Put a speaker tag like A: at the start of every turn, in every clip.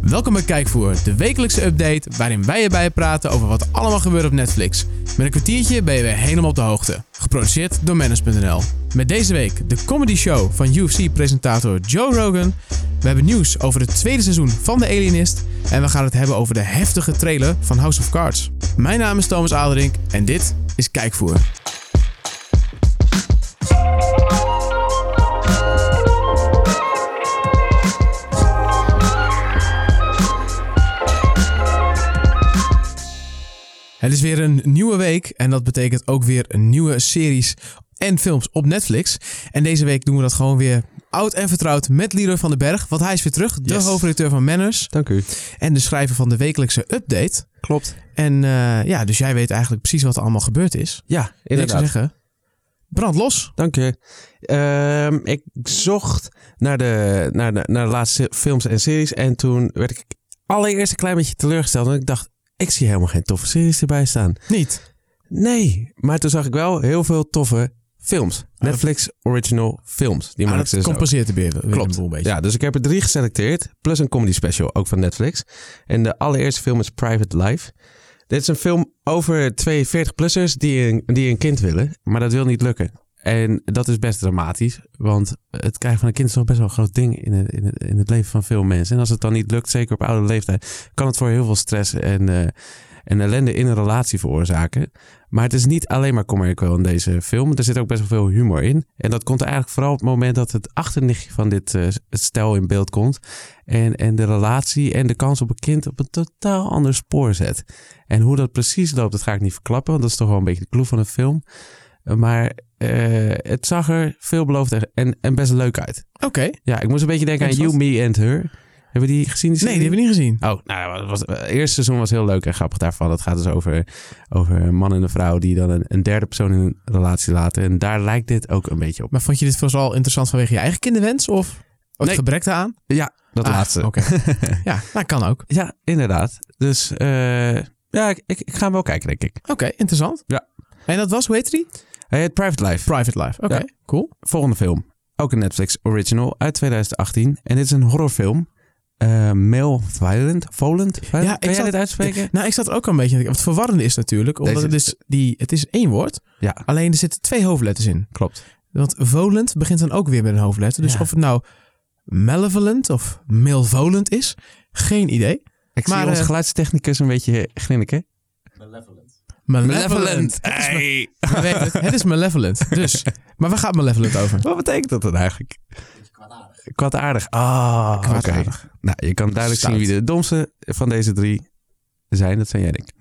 A: Welkom bij Kijkvoer, de wekelijkse update waarin wij erbij praten over wat allemaal gebeurt op Netflix. Met een kwartiertje ben je weer helemaal op de hoogte. Geproduceerd door Manage.nl. Met deze week de comedy show van UFC-presentator Joe Rogan. We hebben nieuws over het tweede seizoen van The Alienist. En we gaan het hebben over de heftige trailer van House of Cards. Mijn naam is Thomas Aderink en dit is Kijkvoer. Het is weer een nieuwe week en dat betekent ook weer een nieuwe series en films op Netflix. En deze week doen we dat gewoon weer oud en vertrouwd met Leroy van den Berg, want hij is weer terug, de
B: Yes.
A: hoofdredacteur van Manners
B: Dank u.
A: en de schrijver van de wekelijkse update.
B: Klopt.
A: En eh, ja, dus jij weet eigenlijk precies wat er allemaal gebeurd is.
B: Ja,
A: En Ik zou
B: inderdaad.
A: zeggen, brand los.
B: Dank je. Ehm, ik zocht naar de, naar, de, naar de laatste films en series. En toen werd ik allereerst een klein beetje teleurgesteld. Want ik dacht, ik zie helemaal geen toffe series erbij staan.
A: Niet.
B: Nee, maar toen zag ik wel heel veel toffe films. Netflix original films. Die
A: Maar
B: maken ze
A: Ah, dat
B: dus ook.
A: compenseert de weer, weer een
B: Klopt.
A: boel een beetje.
B: Ja, dus ik heb er drie geselecteerd. Plus een comedy special, ook van Netflix. En de allereerste film is Private Life. Dit is een film over twee 40-plussers die een, die een kind willen. Maar dat wil niet lukken. En dat is best dramatisch. Want het krijgen van een kind is nog best wel een groot ding in het, in, het, in het leven van veel mensen. En als het dan niet lukt, zeker op oude leeftijd, kan het voor heel veel stress en, eh, en ellende in een relatie veroorzaken. Maar het is niet alleen maar commercieel in deze film. Er zit ook best wel veel humor in. En dat komt eigenlijk vooral op het moment dat het achternichtje van dit eh, het stel in beeld komt. En, en de relatie en de kans op een kind op een totaal ander spoor zet. En hoe dat precies loopt, dat ga ik niet verklappen. Want dat is toch wel een beetje de clue van een film. Eh, Maar eh, het zag er veelbelovend en- en, en best leuk uit.
A: Oké.
B: Ja, ik moest een beetje denken aan You,
A: Interessant.
B: Me and Her. Hebben die gezien? Die
A: Nee, die
B: serie?
A: hebben we niet gezien.
B: Oh, nou, het was, het eerste seizoen was heel leuk en grappig daarvan. Het gaat dus over, over een man en een vrouw die dan een, een derde persoon in een relatie laten. En daar lijkt dit ook een beetje op.
A: Maar vond je dit vooral interessant vanwege je eigen kinderwens of het
B: Nee.
A: gebrek daaraan?
B: Ja, dat
A: Ah,
B: laatste.
A: Oké. ja, dat kan ook.
B: Ja, inderdaad. Dus eh, ja, ik, ik, ik ga hem wel kijken, denk ik.
A: Oké, interessant.
B: Ja.
A: En dat was, hoe heet die?
B: Hey, het Private Life.
A: Private Life. Oké,
B: Ja.
A: cool.
B: Volgende film. Ook een Netflix original uit 2018. En dit is een horrorfilm. Eh male Violent. Volent? Violent?
A: ik
B: kan jij
A: zat-
B: dit uitspreken?
A: Nou, ik zat er ook al een beetje aan te denken. Wat het verwarrende is natuurlijk, omdat
B: Deze-
A: het, is die, het is één woord,
B: Ja,
A: alleen er zitten twee hoofdletters in.
B: klopt.
A: Want volend begint dan ook weer met een hoofdletter. Dus
B: Ja.
A: of het nou malevolent of malevolent is, geen idee.
B: Ik
A: Maar,
B: zie onze
A: eh,
B: geluidstechnicus een beetje grinniken.
A: Malevolent. Het is ma-
B: Hey.
A: Je weet het, het is malevolent. Dus, maar waar gaat malevolent over?
B: Wat betekent dat dan eigenlijk? Kwaadaardig. Ah, oké.
A: Kwaadaardig.
B: Nou, je kan duidelijk zien
A: Stout.
B: wie de domste van deze drie zijn. Dat zijn jij, denk ik.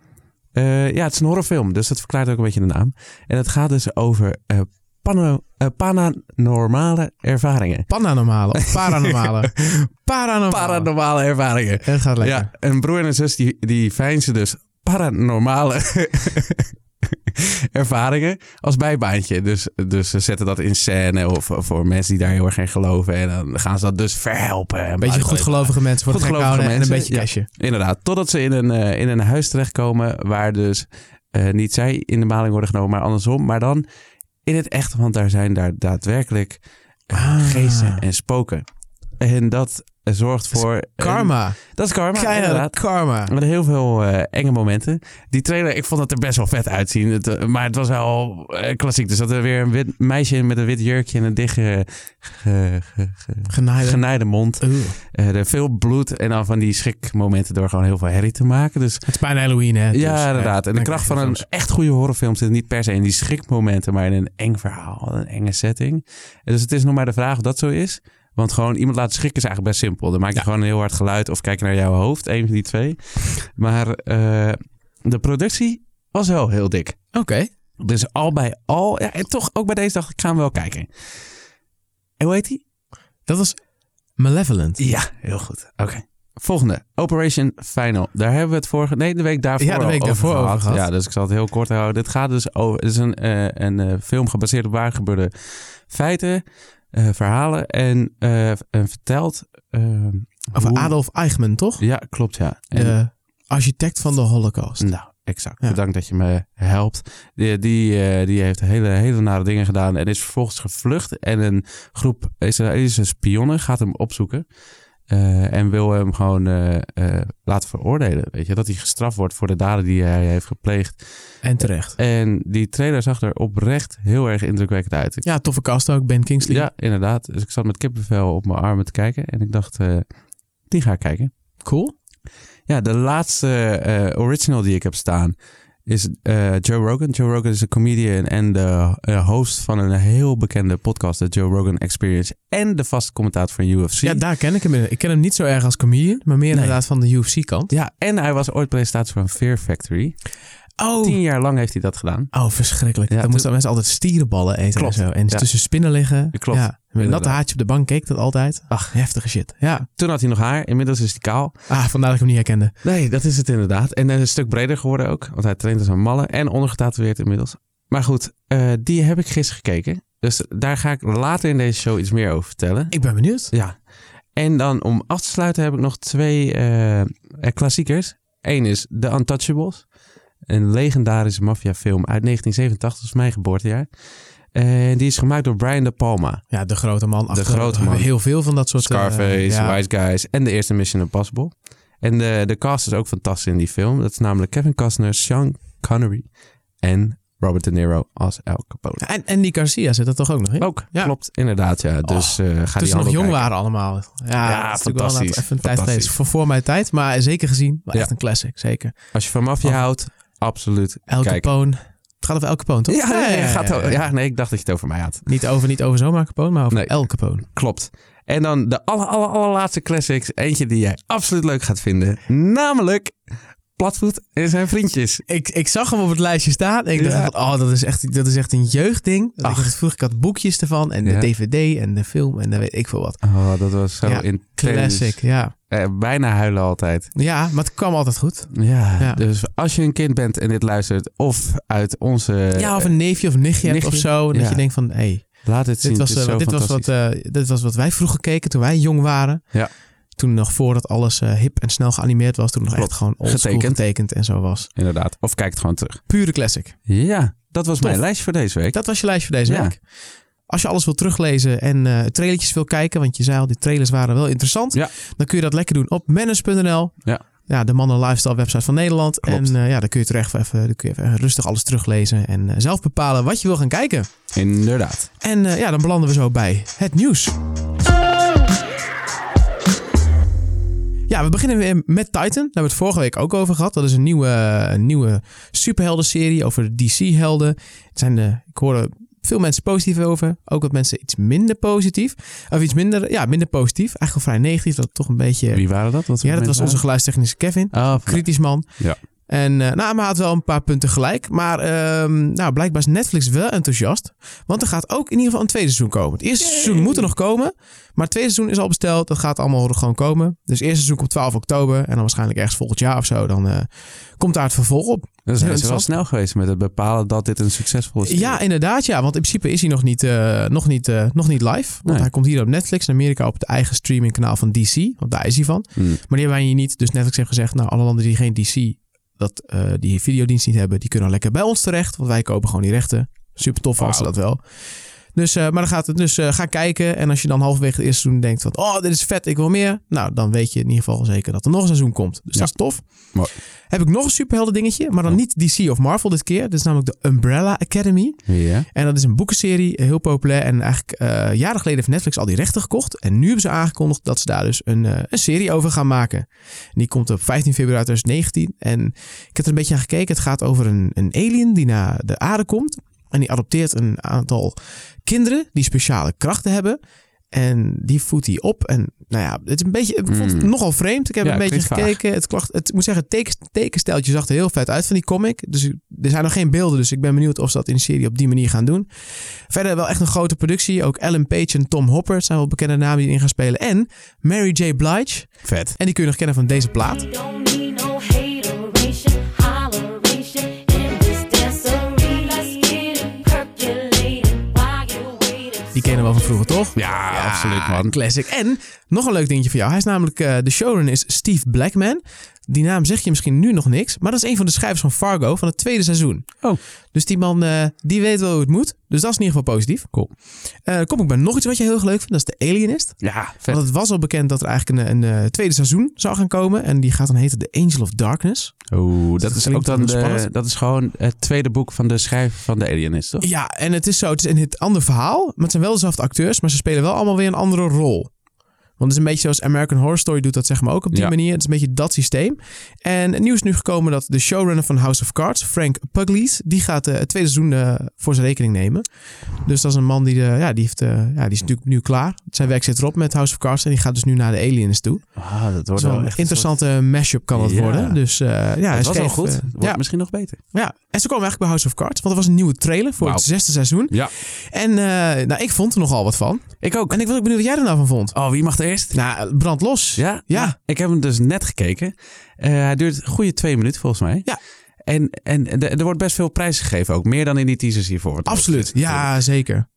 B: Eh, ja, het is een horrorfilm, dus dat verklaart ook een beetje de naam. En het gaat dus over eh, pano- eh, paranormale ervaringen.
A: Pananormale of paranormale?
B: Oh.
A: Paranormale.
B: Paranormale ervaringen.
A: Het gaat lekker.
B: Ja, een broer en een zus die, die veinzen dus paranormale ervaringen als bijbaantje. Dus, dus ze zetten dat in scène of of voor mensen die daar heel erg in geloven. En dan gaan ze dat dus verhelpen. En
A: Een beetje
B: blablabla.
A: goedgelovige mensen voor het gek
B: Goedgelovige
A: houden en een
B: mensen,
A: beetje
B: ja.
A: cashje.
B: Inderdaad, totdat ze in een, eh, in een huis terechtkomen waar dus eh, niet zij in de maling worden genomen, maar andersom. Maar dan in het echt, want daar zijn daar daadwerkelijk eh,
A: Ah.
B: geesten en spoken. En dat eh, zorgt
A: is
B: voor... een-
A: Karma.
B: dat is karma,
A: Keiharde
B: inderdaad.
A: karma.
B: Met heel veel eh, enge momenten. Die trailer, ik vond het er best wel vet uitzien. Het, eh, maar het was wel eh, klassiek. Dus dat er weer een wit meisje in met een wit jurkje en een dichte ge, ge- ge-
A: Genaaide.
B: genaaide mond.
A: Oeh.
B: Eh, er veel bloed en dan van die schrikmomenten door gewoon heel veel herrie te maken. Dus
A: Het is bijna Halloween, hè? Dus,
B: ja, inderdaad.
A: eh,
B: En
A: dan
B: de kracht van
A: krijg je
B: een
A: soms-
B: echt goede horrorfilm zit niet per se in die schrikmomenten, maar in een eng verhaal, een enge setting. En dus het is nog maar de vraag of dat zo is. Want gewoon iemand laten schrikken is eigenlijk best simpel. Dan maak je
A: Ja.
B: gewoon een heel hard geluid of kijk naar jouw hoofd, een van die twee. Maar eh, de productie was wel heel dik.
A: Oké.
B: Dus al bij al, ja, en toch ook bij deze dacht ik, ga hem wel kijken. En hoe heet die?
A: Dat was Malevolent.
B: Ja, heel goed. Oké. Volgende, Operation Final. Daar hebben we het vorige... Nee, de week daarvoor
A: Ja, de week
B: al
A: daarvoor
B: over
A: over
B: gehad.
A: gehad.
B: Ja, dus ik zal het heel kort houden. Dit gaat dus over... Het is een, eh, een eh, film gebaseerd op waar gebeurde feiten, eh, verhalen en, eh, en vertelt... eh,
A: Over
B: hoe-
A: Adolf Eichmann, toch?
B: Ja, klopt, ja. En-
A: De architect van de Holocaust.
B: nou, exact.
A: Ja.
B: Bedankt dat je me helpt. Die, die, eh, die heeft hele, hele nare dingen gedaan en is vervolgens gevlucht. En een groep Israëlische spionnen gaat hem opzoeken. eh, en wil hem gewoon eh, eh, laten veroordelen. Weet je, dat hij gestraft wordt voor de daden die hij heeft gepleegd.
A: En terecht.
B: En die trailer zag er oprecht heel erg indrukwekkend uit. Ik-
A: Ja, toffe kast ook. Ben Kingsley.
B: ja, inderdaad. Dus ik zat met kippenvel op mijn armen te kijken. En ik dacht, eh, die ga ik kijken.
A: Cool.
B: Ja, de laatste eh, original die ik heb staan is eh, Joe Rogan. Joe Rogan is een comedian en de eh, host van een heel bekende podcast, de Joe Rogan Experience. En de vaste commentator van UFC.
A: Ja, daar ken ik hem in. Ik ken hem niet zo erg als comedian, maar meer inderdaad van de UFC-kant.
B: Ja, en hij was ooit presentator van Fear Factory.
A: Oh.
B: Tien jaar lang heeft hij dat gedaan.
A: Oh, verschrikkelijk.
B: Ja,
A: dan
B: toen-
A: moesten mensen altijd stierenballen eten
B: Klopt.
A: en zo. En
B: Ja.
A: tussen spinnen liggen.
B: Klopt.
A: Ja. Met een
B: Inderdaad.
A: natte haartje op de bank keek dat altijd. Ach, heftige shit. Ja.
B: Toen had hij nog haar, inmiddels is hij kaal.
A: Ah, vandaar dat ik hem niet herkende.
B: Nee, dat is het inderdaad. En hij is een stuk breder geworden ook, want hij traint als een malle en ondergetatoeëerd inmiddels. Maar goed, eh, die heb ik gisteren gekeken. Dus daar ga ik later in deze show iets meer over vertellen.
A: Ik ben benieuwd.
B: Ja. En dan om af te sluiten heb ik nog twee eh, eh, klassiekers. Eén is The Untouchables. Een legendarische maffiafilm uit 1987, dat is mijn geboortejaar. En die is gemaakt door Brian De Palma.
A: Ja, de grote man. Achter,
B: grote man.
A: Heel veel van dat soort... eh,
B: Scarface,
A: ja.
B: Wise Guys en de eerste Mission Impossible. En de, de cast is ook fantastisch in die film. Dat is namelijk Kevin Costner, Sean Connery en Robert De Niro als Al Capone.
A: En, en die Garcia zit er toch ook nog in?
B: Ook,
A: Ja.
B: klopt, inderdaad. Ja. Dus eh Oh, ga
A: Toen
B: die
A: ze nog
B: allemaal
A: jong
B: kijken.
A: waren allemaal. Ja,
B: Ja,
A: dat is natuurlijk wel een-
B: fantastisch.
A: even een tijd
B: Fantastisch.
A: geleden. Voor, voor mijn tijd, maar zeker gezien. wel
B: Ja.
A: Echt een classic, zeker.
B: Als je van maffia
A: Af-
B: houdt, absoluut
A: El
B: Kijk.
A: Capone. Het gaat over El Capone, toch?
B: Ja, nee,
A: ja,
B: gaat
A: ja, ja.
B: wel- ja, nee, ik dacht dat je het over mij had.
A: Niet over, niet over zomaar Capone, maar over
B: Nee.
A: El Capone.
B: Klopt. En dan de aller, aller, allerlaatste classics. Eentje die jij absoluut leuk gaat vinden. Namelijk Platvoet en zijn vriendjes.
A: Ik, ik zag hem op het lijstje staan en ik
B: Ja.
A: dacht, oh, dat is echt, dat is echt een jeugdding. Dat ik,
B: Ach.
A: had vroeger, ik had boekjes ervan en
B: Ja.
A: de dvd en de film en dan weet ik veel wat.
B: Oh, dat was zo
A: Ja,
B: intens.
A: Classic, ja.
B: Eh, bijna huilen altijd.
A: Ja, maar het kwam altijd goed.
B: Ja,
A: Ja.
B: dus als je een kind bent en dit luistert... of uit onze...
A: Ja, of een neefje of nichtje, hebt
B: Eh, nichtje.
A: of zo. Dat
B: Ja.
A: je denkt van, hé, hey,
B: Laat het zien.
A: dit, was,
B: het is
A: eh,
B: zo
A: wat- dit, was wat,
B: fantastisch.
A: eh, dit was wat wij vroeger keken toen wij jong waren.
B: Ja.
A: Toen nog voordat alles eh, hip en snel geanimeerd was. Toen nog
B: Klopt.
A: echt gewoon oldschool
B: Getekend.
A: getekend. getekend en zo was.
B: Inderdaad. Of kijk het gewoon terug.
A: Pure classic.
B: Ja, dat was
A: Tof.
B: mijn lijst voor deze week.
A: Dat was je lijst voor deze
B: Ja.
A: week. Als je alles wil teruglezen en eh trailertjes wil kijken, want je zei al, die trailers waren wel interessant.
B: Ja.
A: Dan kun je dat lekker doen op manage.nl.
B: Ja.
A: Ja, de mannen lifestyle website van Nederland.
B: Klopt.
A: En eh, ja, daar kun je terecht even, daar kun je even rustig alles teruglezen en eh, zelf bepalen wat je wil gaan kijken.
B: Inderdaad.
A: En eh, ja, dan belanden we zo bij het nieuws. Ja, we beginnen weer met Titan. Daar hebben we het vorige week ook over gehad. Dat is een nieuwe, een nieuwe superhelden-serie over DC-helden. Het zijn de, ik hoorde veel mensen positief over. Ook wat mensen iets minder positief. Of iets minder, ja, minder positief. Eigenlijk wel vrij negatief. Dat het toch een beetje...
B: Wie waren dat? Wat voor
A: ja, dat was
B: mensen
A: onze geluidstechnische Kevin
B: waren? Oh,
A: kritisch man.
B: Ja.
A: En eh, nou, maar hij had wel een paar punten gelijk. Maar ehm, nou, blijkbaar is Netflix wel enthousiast. Want er gaat ook in ieder geval een tweede seizoen komen. Het eerste seizoen moet er nog komen. Maar het tweede seizoen is al besteld. Dat gaat allemaal gewoon komen. Dus eerste seizoen komt 12 oktober. En dan waarschijnlijk ergens volgend jaar of zo. Dan eh, komt daar het vervolg op.
B: Dan zijn
A: Heel
B: ze wel
A: interessant.
B: snel geweest met het bepalen dat dit een succesvol is.
A: Ja, inderdaad. Ja, want in principe is hij nog niet, eh, nog niet, eh, nog niet live. Want
B: Nee.
A: hij komt hier op Netflix in Amerika op het eigen streamingkanaal van DC. Want daar is hij van.
B: Hmm.
A: Maar die hebben wij hier niet. Dus Netflix heeft gezegd, nou, alle landen die geen DC, dat, eh, die videodienst niet hebben, die kunnen lekker bij ons terecht. Want wij kopen gewoon die rechten. Super tof als ze
B: Wauw.
A: dat wel. Dus, eh, maar dan gaat het dus eh, ga kijken. En als je dan halverwege het eerste seizoen denkt van, oh, dit is vet, ik wil meer. Nou, dan weet je in ieder geval zeker dat er nog een seizoen komt. Dus
B: Ja.
A: dat is tof.
B: Mooi.
A: Heb ik nog een superhelden dingetje, maar dan
B: Oh.
A: niet DC of Marvel dit keer. Dit is namelijk de Umbrella Academy.
B: Ja.
A: En dat is een boekenserie, heel populair. En eigenlijk eh, jaren geleden heeft Netflix al die rechten gekocht. En nu hebben ze aangekondigd dat ze daar dus een, eh, een serie over gaan maken. En die komt op 15 februari 2019. En ik heb er een beetje aan gekeken. Het gaat over een, een alien die naar de aarde komt. En die adopteert een aantal kinderen die speciale krachten hebben. En die voedt hij op. En nou ja, het is een beetje, ik vond het
B: Mm. nogal
A: nogal vreemd. Ik heb
B: Ja,
A: een beetje
B: klinkt vaag.
A: gekeken. Het, klacht, het ik moet zeggen, het teken, tekensteltje zag er heel vet uit van die comic. Dus er zijn nog geen beelden. Dus ik ben benieuwd of ze dat in de serie op die manier gaan doen. Verder wel echt een grote productie. Ook Ellen Page en Tom Hopper zijn wel bekende namen die erin gaan spelen. En Mary J. Blige.
B: Vet.
A: En die kun je nog kennen van deze plaat.
C: Don't need no hateration, holleration in this dancery. Let's get it percolating while you're waiting.
A: Die kennen we wel van vroeger, toch?
B: Ja, absoluut, man.
A: Classic. En nog een leuk dingetje voor jou. Hij is namelijk, eh, de showrunner is Steve Blackman. Die naam zegt je misschien nu nog niks. Maar dat is een van de schrijvers van Fargo van het tweede seizoen.
B: Oh.
A: Dus die man, eh, die weet wel hoe het moet. Dus dat is in ieder geval positief.
B: Cool.
A: Eh, dan kom ik bij nog iets wat je heel erg leuk vindt. Dat is de Alienist.
B: Ja, vet.
A: Want het was al bekend dat er eigenlijk een, een eh, tweede seizoen zou gaan komen. En die gaat dan heten The Angel of Darkness.
B: Oeh, dat
A: Dat
B: is
A: klinkt
B: ook
A: wel
B: dan de,
A: spannend.
B: dat is gewoon het tweede boek van de schrijver van de Alienist, toch?
A: Ja, en het is zo, het is een het ander verhaal. Maar het zijn wel dezelfde acteurs, maar ze spelen wel allemaal weer een andere rol. Want het is een beetje zoals American Horror Story doet dat zeg maar ook op die
B: Ja.
A: manier. Het is een beetje dat systeem. En het nieuws is nu gekomen dat de showrunner van House of Cards, Frank Pugliese, die gaat eh, het tweede seizoen eh, voor zijn rekening nemen. Dus dat is een man die, de, ja, die, heeft, eh, ja, die is natuurlijk nu klaar. Zijn werk zit erop met House of Cards en die gaat dus nu naar de Aliens toe.
B: Ah, dat
A: Dus
B: wordt
A: wel
B: wel
A: een
B: echt
A: interessante mashup kan het
B: Ja.
A: worden. Dus eh, ja,
B: Ja,
A: hij
B: het was al
A: schreef,
B: goed.
A: eh,
B: Wordt
A: ja,
B: misschien nog beter.
A: ja, en ze kwamen eigenlijk bij House of Cards, want er was een nieuwe trailer voor
B: Wauw.
A: het zesde seizoen.
B: Ja.
A: En eh, nou, ik vond er nogal wat van.
B: Ik ook.
A: En ik was ook benieuwd wat jij er nou van vond.
B: Oh, wie mag er eerst?
A: Nou, brand los.
B: Ja?
A: Ja.
B: Ik heb hem dus net gekeken. Eh, hij duurt een goede twee minuten volgens mij.
A: Ja.
B: En, en de- er wordt best veel prijs gegeven ook. Meer dan in die teasers hiervoor. wordt
A: Absoluut.
B: gezegd.
A: Ja, zeker.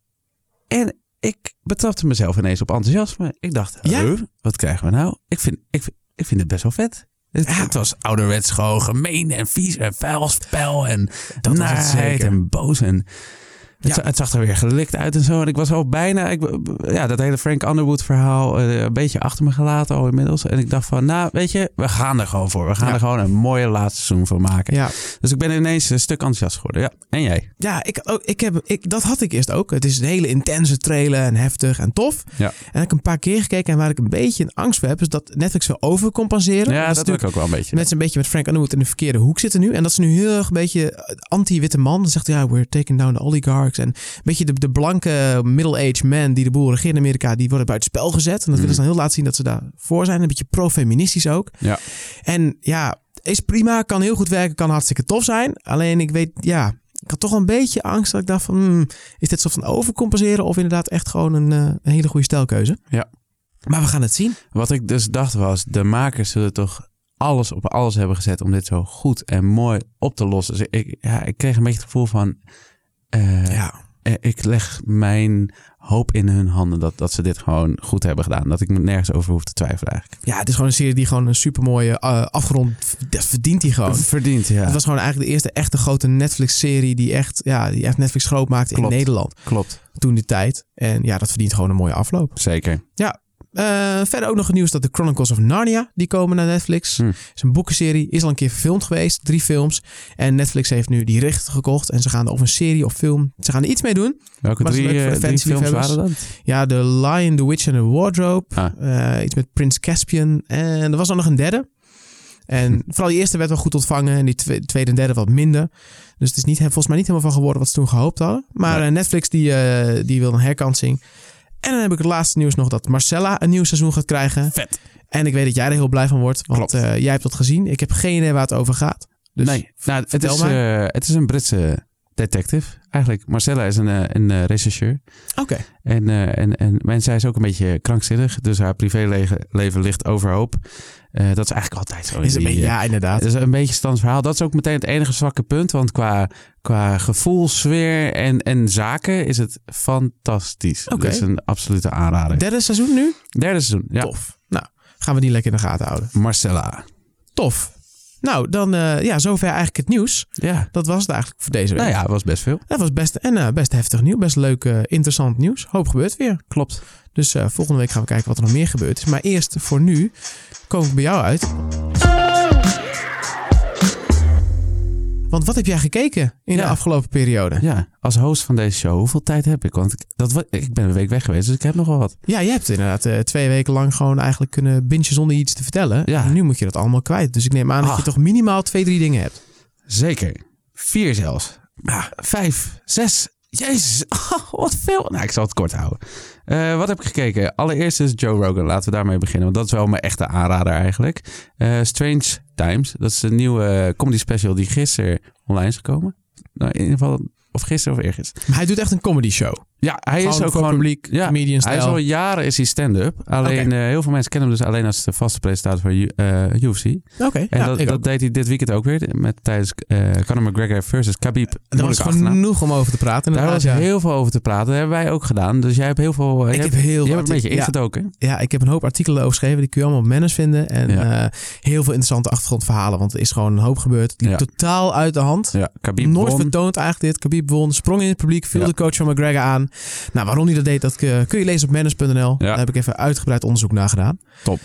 B: En ik betrapte mezelf ineens op enthousiasme. Ik dacht,
A: Ja?
B: huh, wat krijgen we nou? Ik vind, ik, vind- ik vind het best wel vet. Het, het was ouderwets gewoon gemeen en vies en vuil spel en
A: Dat was het
B: naaiheid
A: zeker.
B: en boos. En het,
A: Ja.
B: za- het zag er weer gelikt uit en zo. En ik was al bijna, ik, be- ja, dat hele Frank Underwood verhaal eh, een beetje achter me gelaten al inmiddels. En ik dacht van, nou weet je, we gaan er gewoon voor. We gaan
A: Ja.
B: er gewoon een mooie laatste seizoen van maken.
A: Ja,
B: Dus ik ben ineens een stuk enthousiast geworden. Ja, en jij?
A: ja ik, ook, ik heb, ik, dat had ik eerst ook. Het is een hele intense trailer en heftig en tof.
B: Ja.
A: En ik heb een paar keer gekeken en waar ik een beetje een angst voor heb... is dat Netflix wil overcompenseren.
B: Ja,
A: is
B: dat, doe ik ook wel een beetje.
A: Mensen een beetje met Frank Underwood in de verkeerde hoek zitten nu. En dat ze nu heel erg een beetje eh, anti-witte man. Dan zegt hij, ja, we're taking down the oligarchs. En een beetje de, de blanke middle-aged man die de boel regeert in Amerika, die worden buitenspel gezet. En
B: Mm.
A: dat willen ze dan heel laat zien dat ze daarvoor zijn. Een beetje pro-feministisch ook.
B: Ja.
A: En ja, is prima, kan heel goed werken, kan hartstikke tof zijn. Alleen ik weet, ja, ik had toch wel een beetje angst dat ik dacht van, hmm, is dit soort van overcompenseren of inderdaad echt gewoon een, eh, een hele goede stijlkeuze?
B: Ja.
A: Maar we gaan het zien.
B: Wat ik dus dacht was, de makers zullen toch alles op alles hebben gezet om dit zo goed en mooi op te lossen. Dus ik, ja, ik kreeg een beetje het gevoel van, eh,
A: Ja.
B: eh, ik leg mijn hoop in hun handen dat, dat ze dit gewoon goed hebben gedaan. Dat ik me nergens over hoef te twijfelen eigenlijk.
A: Ja, het is gewoon een serie die gewoon een supermooie eh, afgerond... Dat verdient hij gewoon.
B: Oh, Verdiend, ja.
A: Het was gewoon eigenlijk de eerste echte grote Netflix-serie die echt, ja, die echt Netflix groot maakte
B: Klopt.
A: in Nederland
B: Klopt,
A: toen die tijd. En ja, dat verdient gewoon een mooie afloop.
B: zeker.
A: Eh, verder ook nog het nieuws dat de Chronicles of Narnia, die komen naar Netflix.
B: Hm.
A: is een boekenserie, is al een keer verfilmd geweest, drie films. En Netflix heeft nu die rechten gekocht en ze gaan er of een serie of film, ze gaan er iets mee doen.
B: Welke
A: Maar het is
B: drie,
A: leuk voor
B: eh,
A: de
B: drie
A: fans die
B: films
A: hebben-
B: waren dat?
A: Ja, The Lion, The Witch and The Wardrobe.
B: Ah.
A: Eh, iets met Prins Caspian. En er was dan nog een derde. En vooral die eerste werd wel goed ontvangen. En die twe- tweede en derde wat minder. Dus het is niet, volgens mij niet helemaal van geworden wat ze toen gehoopt hadden. Maar
B: Nee.
A: eh, Netflix die, eh, die wil een herkansing. En dan heb ik het laatste nieuws nog dat Marcella een nieuw seizoen gaat krijgen.
B: Vet.
A: En ik weet dat jij er heel blij van wordt. Want
B: Klopt.
A: eh, jij hebt dat gezien. Ik heb geen idee waar het over gaat. Dus
B: nee, nou, het,
A: vertel
B: is,
A: maar.
B: eh, het is een Britse detective eigenlijk. Marcella is een, eh, een eh, rechercheur.
A: oké.
B: En, eh, en, en, en zij is ook een beetje krankzinnig. Dus haar privéleven leven ligt overhoop. Eh, dat is eigenlijk altijd zo. in
A: Is een
B: die,
A: beetje,
B: eh,
A: ja, inderdaad.
B: Het is een beetje stands verhaal. Dat is ook meteen het enige zwakke punt. Want qua, qua gevoelssfeer en, en zaken is het fantastisch.
A: Oké.
B: Dat is een absolute aanrader.
A: Derde seizoen nu?
B: Derde seizoen. Ja.
A: Tof. Nou, gaan we die lekker in de gaten houden.
B: Marcella.
A: Tof. Nou, dan eh, ja, zover eigenlijk het nieuws.
B: Ja.
A: Dat was het eigenlijk voor deze week.
B: Nou ja, was best veel.
A: Dat was best, en, eh, best heftig nieuws. Best leuk, eh, interessant nieuws. Hoop gebeurt weer.
B: Klopt.
A: Dus eh, volgende week gaan we kijken wat er nog meer gebeurd is. Maar eerst voor nu kom ik bij jou uit. Want wat heb jij gekeken in
B: Ja.
A: de afgelopen periode?
B: Ja. Als host van deze show, hoeveel tijd heb ik? Want ik, dat, wa- ik ben een week weg geweest, dus ik heb nogal wat.
A: Ja, je hebt inderdaad eh, twee weken lang gewoon eigenlijk kunnen bingen zonder iets te vertellen.
B: Ja.
A: En nu moet je dat allemaal kwijt. Dus ik neem aan dat je
B: Ah.
A: toch minimaal twee, drie dingen hebt.
B: Zeker. Vier zelfs. Ja, vijf, zes. Jezus, wat veel. Nou, ik zal het kort houden. Eh, wat heb ik gekeken? Allereerst is Joe Rogan. Laten we daarmee beginnen. Want dat is wel mijn echte aanrader eigenlijk. Eh, Strange Times. Dat is een nieuwe eh, comedy special die gisteren online is gekomen. Nou, in ieder geval, of gisteren of eergisteren.
A: Maar hij doet echt een comedy show.
B: Ja, hij is
A: Gewoon
B: ook
A: voor
B: al
A: publiek,
B: ja,
A: comedian
B: Hij is
A: stijl.
B: al jaren is hij stand-up. Alleen eh, heel veel mensen kennen hem dus alleen als de vaste presentator van U- eh, UFC. En
A: Oké, ja,
B: dat,
A: ik
B: dat
A: ook.
B: deed hij dit weekend ook weer met, tijdens eh Conor McGregor versus Khabib.
A: Er was
B: Moeilijke achternaam.
A: genoeg om over te praten.
B: Daar
A: inderdaad,
B: was
A: ja.
B: heel veel over te praten. Dat hebben wij ook gedaan. Dus jij hebt heel veel. jij
A: Ik
B: hebt-
A: heb heel
B: jij
A: veel
B: hebt een beetje
A: artikelen-
B: ingedoken.
A: Ja, ik heb een hoop artikelen over geschreven. Die kun je allemaal op Manners vinden. En
B: Ja.
A: eh, heel veel interessante achtergrondverhalen. Want er is gewoon een hoop gebeurd. Het liep
B: Ja.
A: totaal uit de hand.
B: Ja, Khabib
A: Nooit
B: won.
A: vertoond eigenlijk dit. Khabib won, sprong in het publiek, viel
B: Ja.
A: de coach van McGregor aan. Nou, waarom hij dat deed, dat eh, kun je lezen op manners.nl.
B: Ja.
A: Daar heb ik even uitgebreid onderzoek naar gedaan.
B: Top.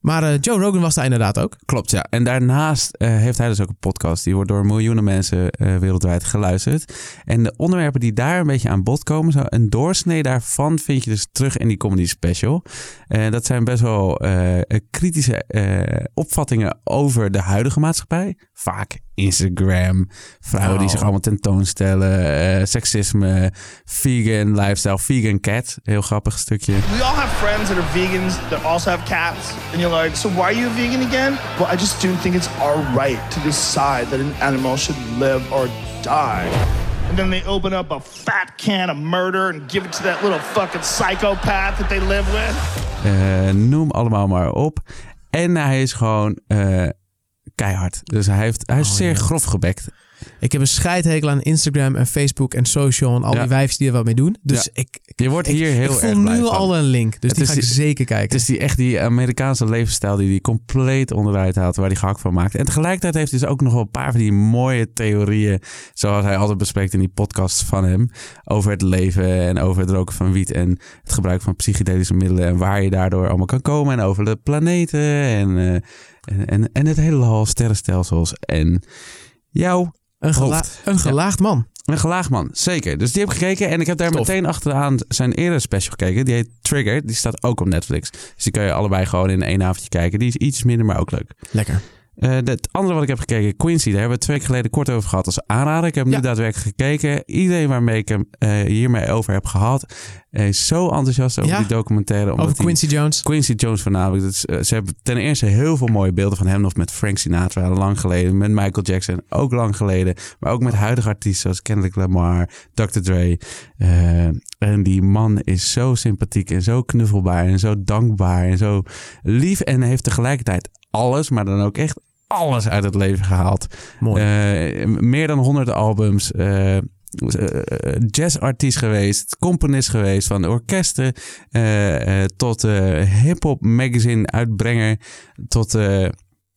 A: Maar eh, Joe Rogan was daar inderdaad ook.
B: Klopt, ja. En daarnaast eh, heeft hij dus ook een podcast. Die wordt door miljoenen mensen eh, wereldwijd geluisterd. En de onderwerpen die daar een beetje aan bod komen, zo, een doorsnee daarvan vind je dus terug in die comedy special. Eh, dat zijn best wel eh, eh, kritische eh, opvattingen over de huidige maatschappij. Vaak Instagram, vrouwen die
A: Nou.
B: zich allemaal tentoonstellen, eh, seksisme, vegan lifestyle, vegan cat. Heel grappig stukje.
D: We all have friends that are vegans that also have cats, and you're like, so why are you a vegan again? Well, I just don't think it's our right to decide that an animal should live or die. And then they open up a fat can of murder and give it to that little fucking psychopath that they live with.
B: Eh, noem allemaal maar op. En hij is gewoon eh, keihard. Dus hij, heeft, hij is
A: Oh,
B: zeer
A: ja.
B: grof gebekt.
A: Ik heb een scheidhekel aan Instagram en Facebook en social en al
B: Ja.
A: die wijfjes die er wat mee doen. Dus
B: Ja.
A: ik, ik,
B: Je wordt
A: ik-
B: hier heel
A: ik voel
B: erg
A: nu
B: blij van.
A: al een link. Dus
B: Het
A: die
B: is
A: ga ik
B: die-
A: zeker kijken.
B: Het is die, echt die Amerikaanse levensstijl die hij compleet onderuit haalt, waar hij gehakt van maakt. En tegelijkertijd heeft hij dus ook nog wel een paar van die mooie theorieën, zoals hij altijd bespreekt in die podcasts van hem, over het leven en over het roken van wiet en het gebruik van psychedelische middelen en waar je daardoor allemaal kan komen en over de planeten en, eh, en, en, en het hele hal sterrenstelsels en jouw
A: een, gela-
B: hoofd.
A: een gelaagd man.
B: Een gelaagman, zeker. Dus die heb ik gekeken en ik heb daar
A: Tof.
B: meteen achteraan zijn eerder special gekeken. Die heet Trigger, die staat ook op Netflix. Dus die kan je allebei gewoon in één avondje kijken. Die is iets minder, maar ook leuk.
A: Lekker.
B: Eh, het andere wat ik heb gekeken, Quincy, daar hebben we twee weken geleden kort over gehad als aanrader. Ik heb hem
A: Ja.
B: nu daadwerkelijk gekeken. Iedereen waarmee ik hem eh, hiermee over heb gehad, eh, is zo enthousiast over
A: Ja?
B: die documentaire. omdat
A: Over
B: die-
A: Quincy Jones.
B: Quincy Jones voornamelijk. Dat is, eh, ze hebben ten eerste heel veel mooie beelden van hem nog met Frank Sinatra, lang geleden. Met Michael Jackson, ook lang geleden. Maar ook met huidige artiesten zoals Kendrick Lamar, Dr. Dre. Eh, en die man is zo sympathiek en zo knuffelbaar en zo dankbaar en zo lief. En heeft tegelijkertijd alles, maar dan ook echt alles uit het leven gehaald.
A: Mooi.
B: Eh, meer dan 100 albums. eh, eh, jazzartiest geweest, componist geweest van orkesten eh, eh, tot eh hip-hop magazine uitbrenger, tot, eh,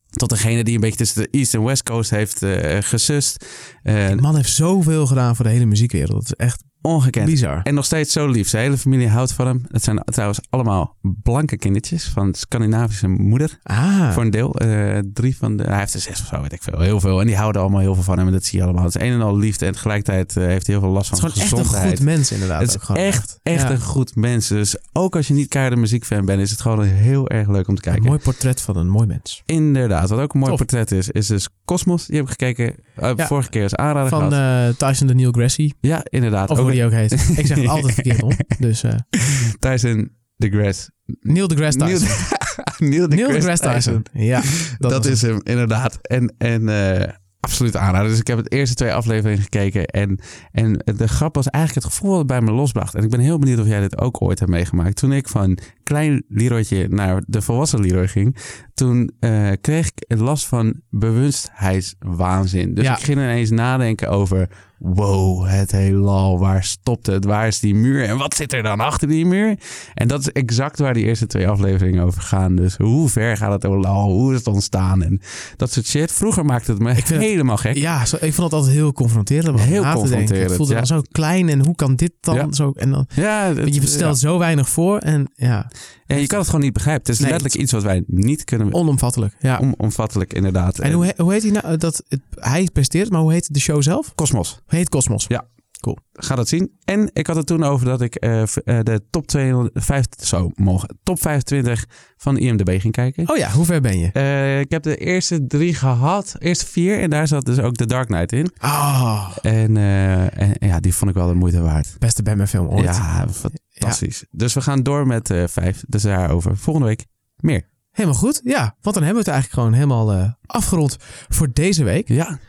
B: tot degene die een beetje tussen de East en West Coast heeft eh, gesust. Eh,
A: die man heeft zoveel gedaan voor de hele muziekwereld. Dat is echt
B: ongekend.
A: bizar.
B: En nog steeds zo lief. Zijn hele familie houdt van hem. Het zijn trouwens allemaal blanke kindertjes van Scandinavische moeder.
A: Ah,
B: Voor een deel. Eh, drie van de. Hij heeft er zes of zo, weet ik veel. Heel veel. En die houden allemaal heel veel van hem. En dat zie je allemaal. Het is een en al liefde. En tegelijkertijd eh, heeft hij heel veel last
A: het
B: van
A: is gewoon echt een
B: gezondheid.
A: goed mens inderdaad.
B: Het is
A: ook gewoon
B: echt, echt
A: Ja.
B: een goed mens. Dus ook als je niet keiharde muziekfan bent, is het gewoon heel erg leuk om te
A: Een
B: kijken.
A: mooi portret van een mooi mens.
B: Inderdaad. Wat ook een mooi
A: Tof.
B: portret is, is dus Cosmos. Die heb ik gekeken. eh,
A: Ja.
B: Vorige keer als aanrader
A: Van
B: gehad.
A: eh, Tyson de Neil Grassy.
B: ja, inderdaad.
A: Of
B: Ook
A: hoe die ook heet. Ik zeg het altijd verkeerd om. Dus eh
B: Tyson de Grass.
A: Neil de Grass Tyson.
B: Neil
A: Neil de Grass Tyson. Ja,
B: Dat,
A: was
B: is hem, inderdaad. En, en eh, absoluut aanrader. Dus ik heb het eerste twee afleveringen gekeken. En, en de grap was eigenlijk het gevoel dat het bij me losbracht. En ik ben heel benieuwd of jij dit ook ooit hebt meegemaakt. Toen ik van klein Leroytje naar de volwassen Leroy ging... toen eh, kreeg ik last van bewustheidswaanzin. Dus
A: Ja.
B: ik ging ineens nadenken over... wow, het heelal, waar stopt het? Waar is die muur? En wat zit er dan achter die muur? En dat is exact waar die eerste twee afleveringen over gaan. Dus hoe ver gaat het heelal? Hoe is het ontstaan? En dat soort shit. Vroeger maakte het me
A: vind het-
B: helemaal gek.
A: Ja, zo, ik vond het altijd heel confronterend. om
B: Heel
A: na te denken.
B: confronterend,
A: Het voelde
B: ja.
A: dan zo klein en hoe kan dit dan
B: Ja.
A: zo? En dan,
B: Ja, het-
A: je stelt zo weinig voor en ja,
B: ja, je kan het gewoon niet begrijpen. Het is
A: Nee.
B: letterlijk iets wat wij niet kunnen...
A: onomvattelijk. Ja.
B: Onomvattelijk, inderdaad. Eh,
A: En hoe, he- hoe heet hij nou? Dat, het- hij presenteert, maar hoe heet de show zelf?
B: Cosmos.
A: Heet Cosmos.
B: Ja.
A: Cool.
B: Ga dat zien. En ik had het toen over dat ik eh, v- eh, de top, 250, zo, mogen, top 25 van IMDB ging kijken.
A: Oh ja, hoe ver ben je?
B: Eh, ik heb de eerste drie gehad. Eerste vier. En daar zat dus ook The Dark Knight in.
A: Oh,
B: En, eh, en en ja, die vond ik wel de moeite waard.
A: beste Batman film ooit.
B: Ja, fantastisch. Dus we gaan door met eh, vijf. Dus daarover. Volgende week meer.
A: Helemaal goed. Ja, want dan hebben we het eigenlijk gewoon helemaal eh, afgerond voor deze week.
B: Ja.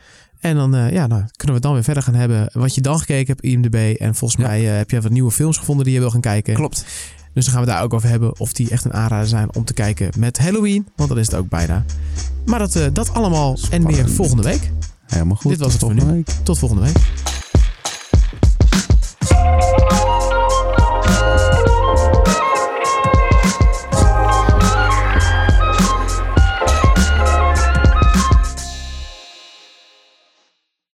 A: En dan eh, ja, nou, kunnen we het dan weer verder gaan hebben. Wat je dan gekeken hebt, IMDb. En volgens
B: Ja.
A: mij eh, heb jij wat nieuwe films gevonden die je wil gaan kijken.
B: Klopt.
A: Dus dan gaan we daar ook over hebben of die echt een aanrader zijn om te kijken met Halloween. Want dat is het ook bijna. Maar dat, eh, dat allemaal en meer
B: Spannend.
A: volgende week.
B: Helemaal goed.
A: Dit was
B: Tot
A: het voor nu.
B: volgende week.
A: Tot volgende week.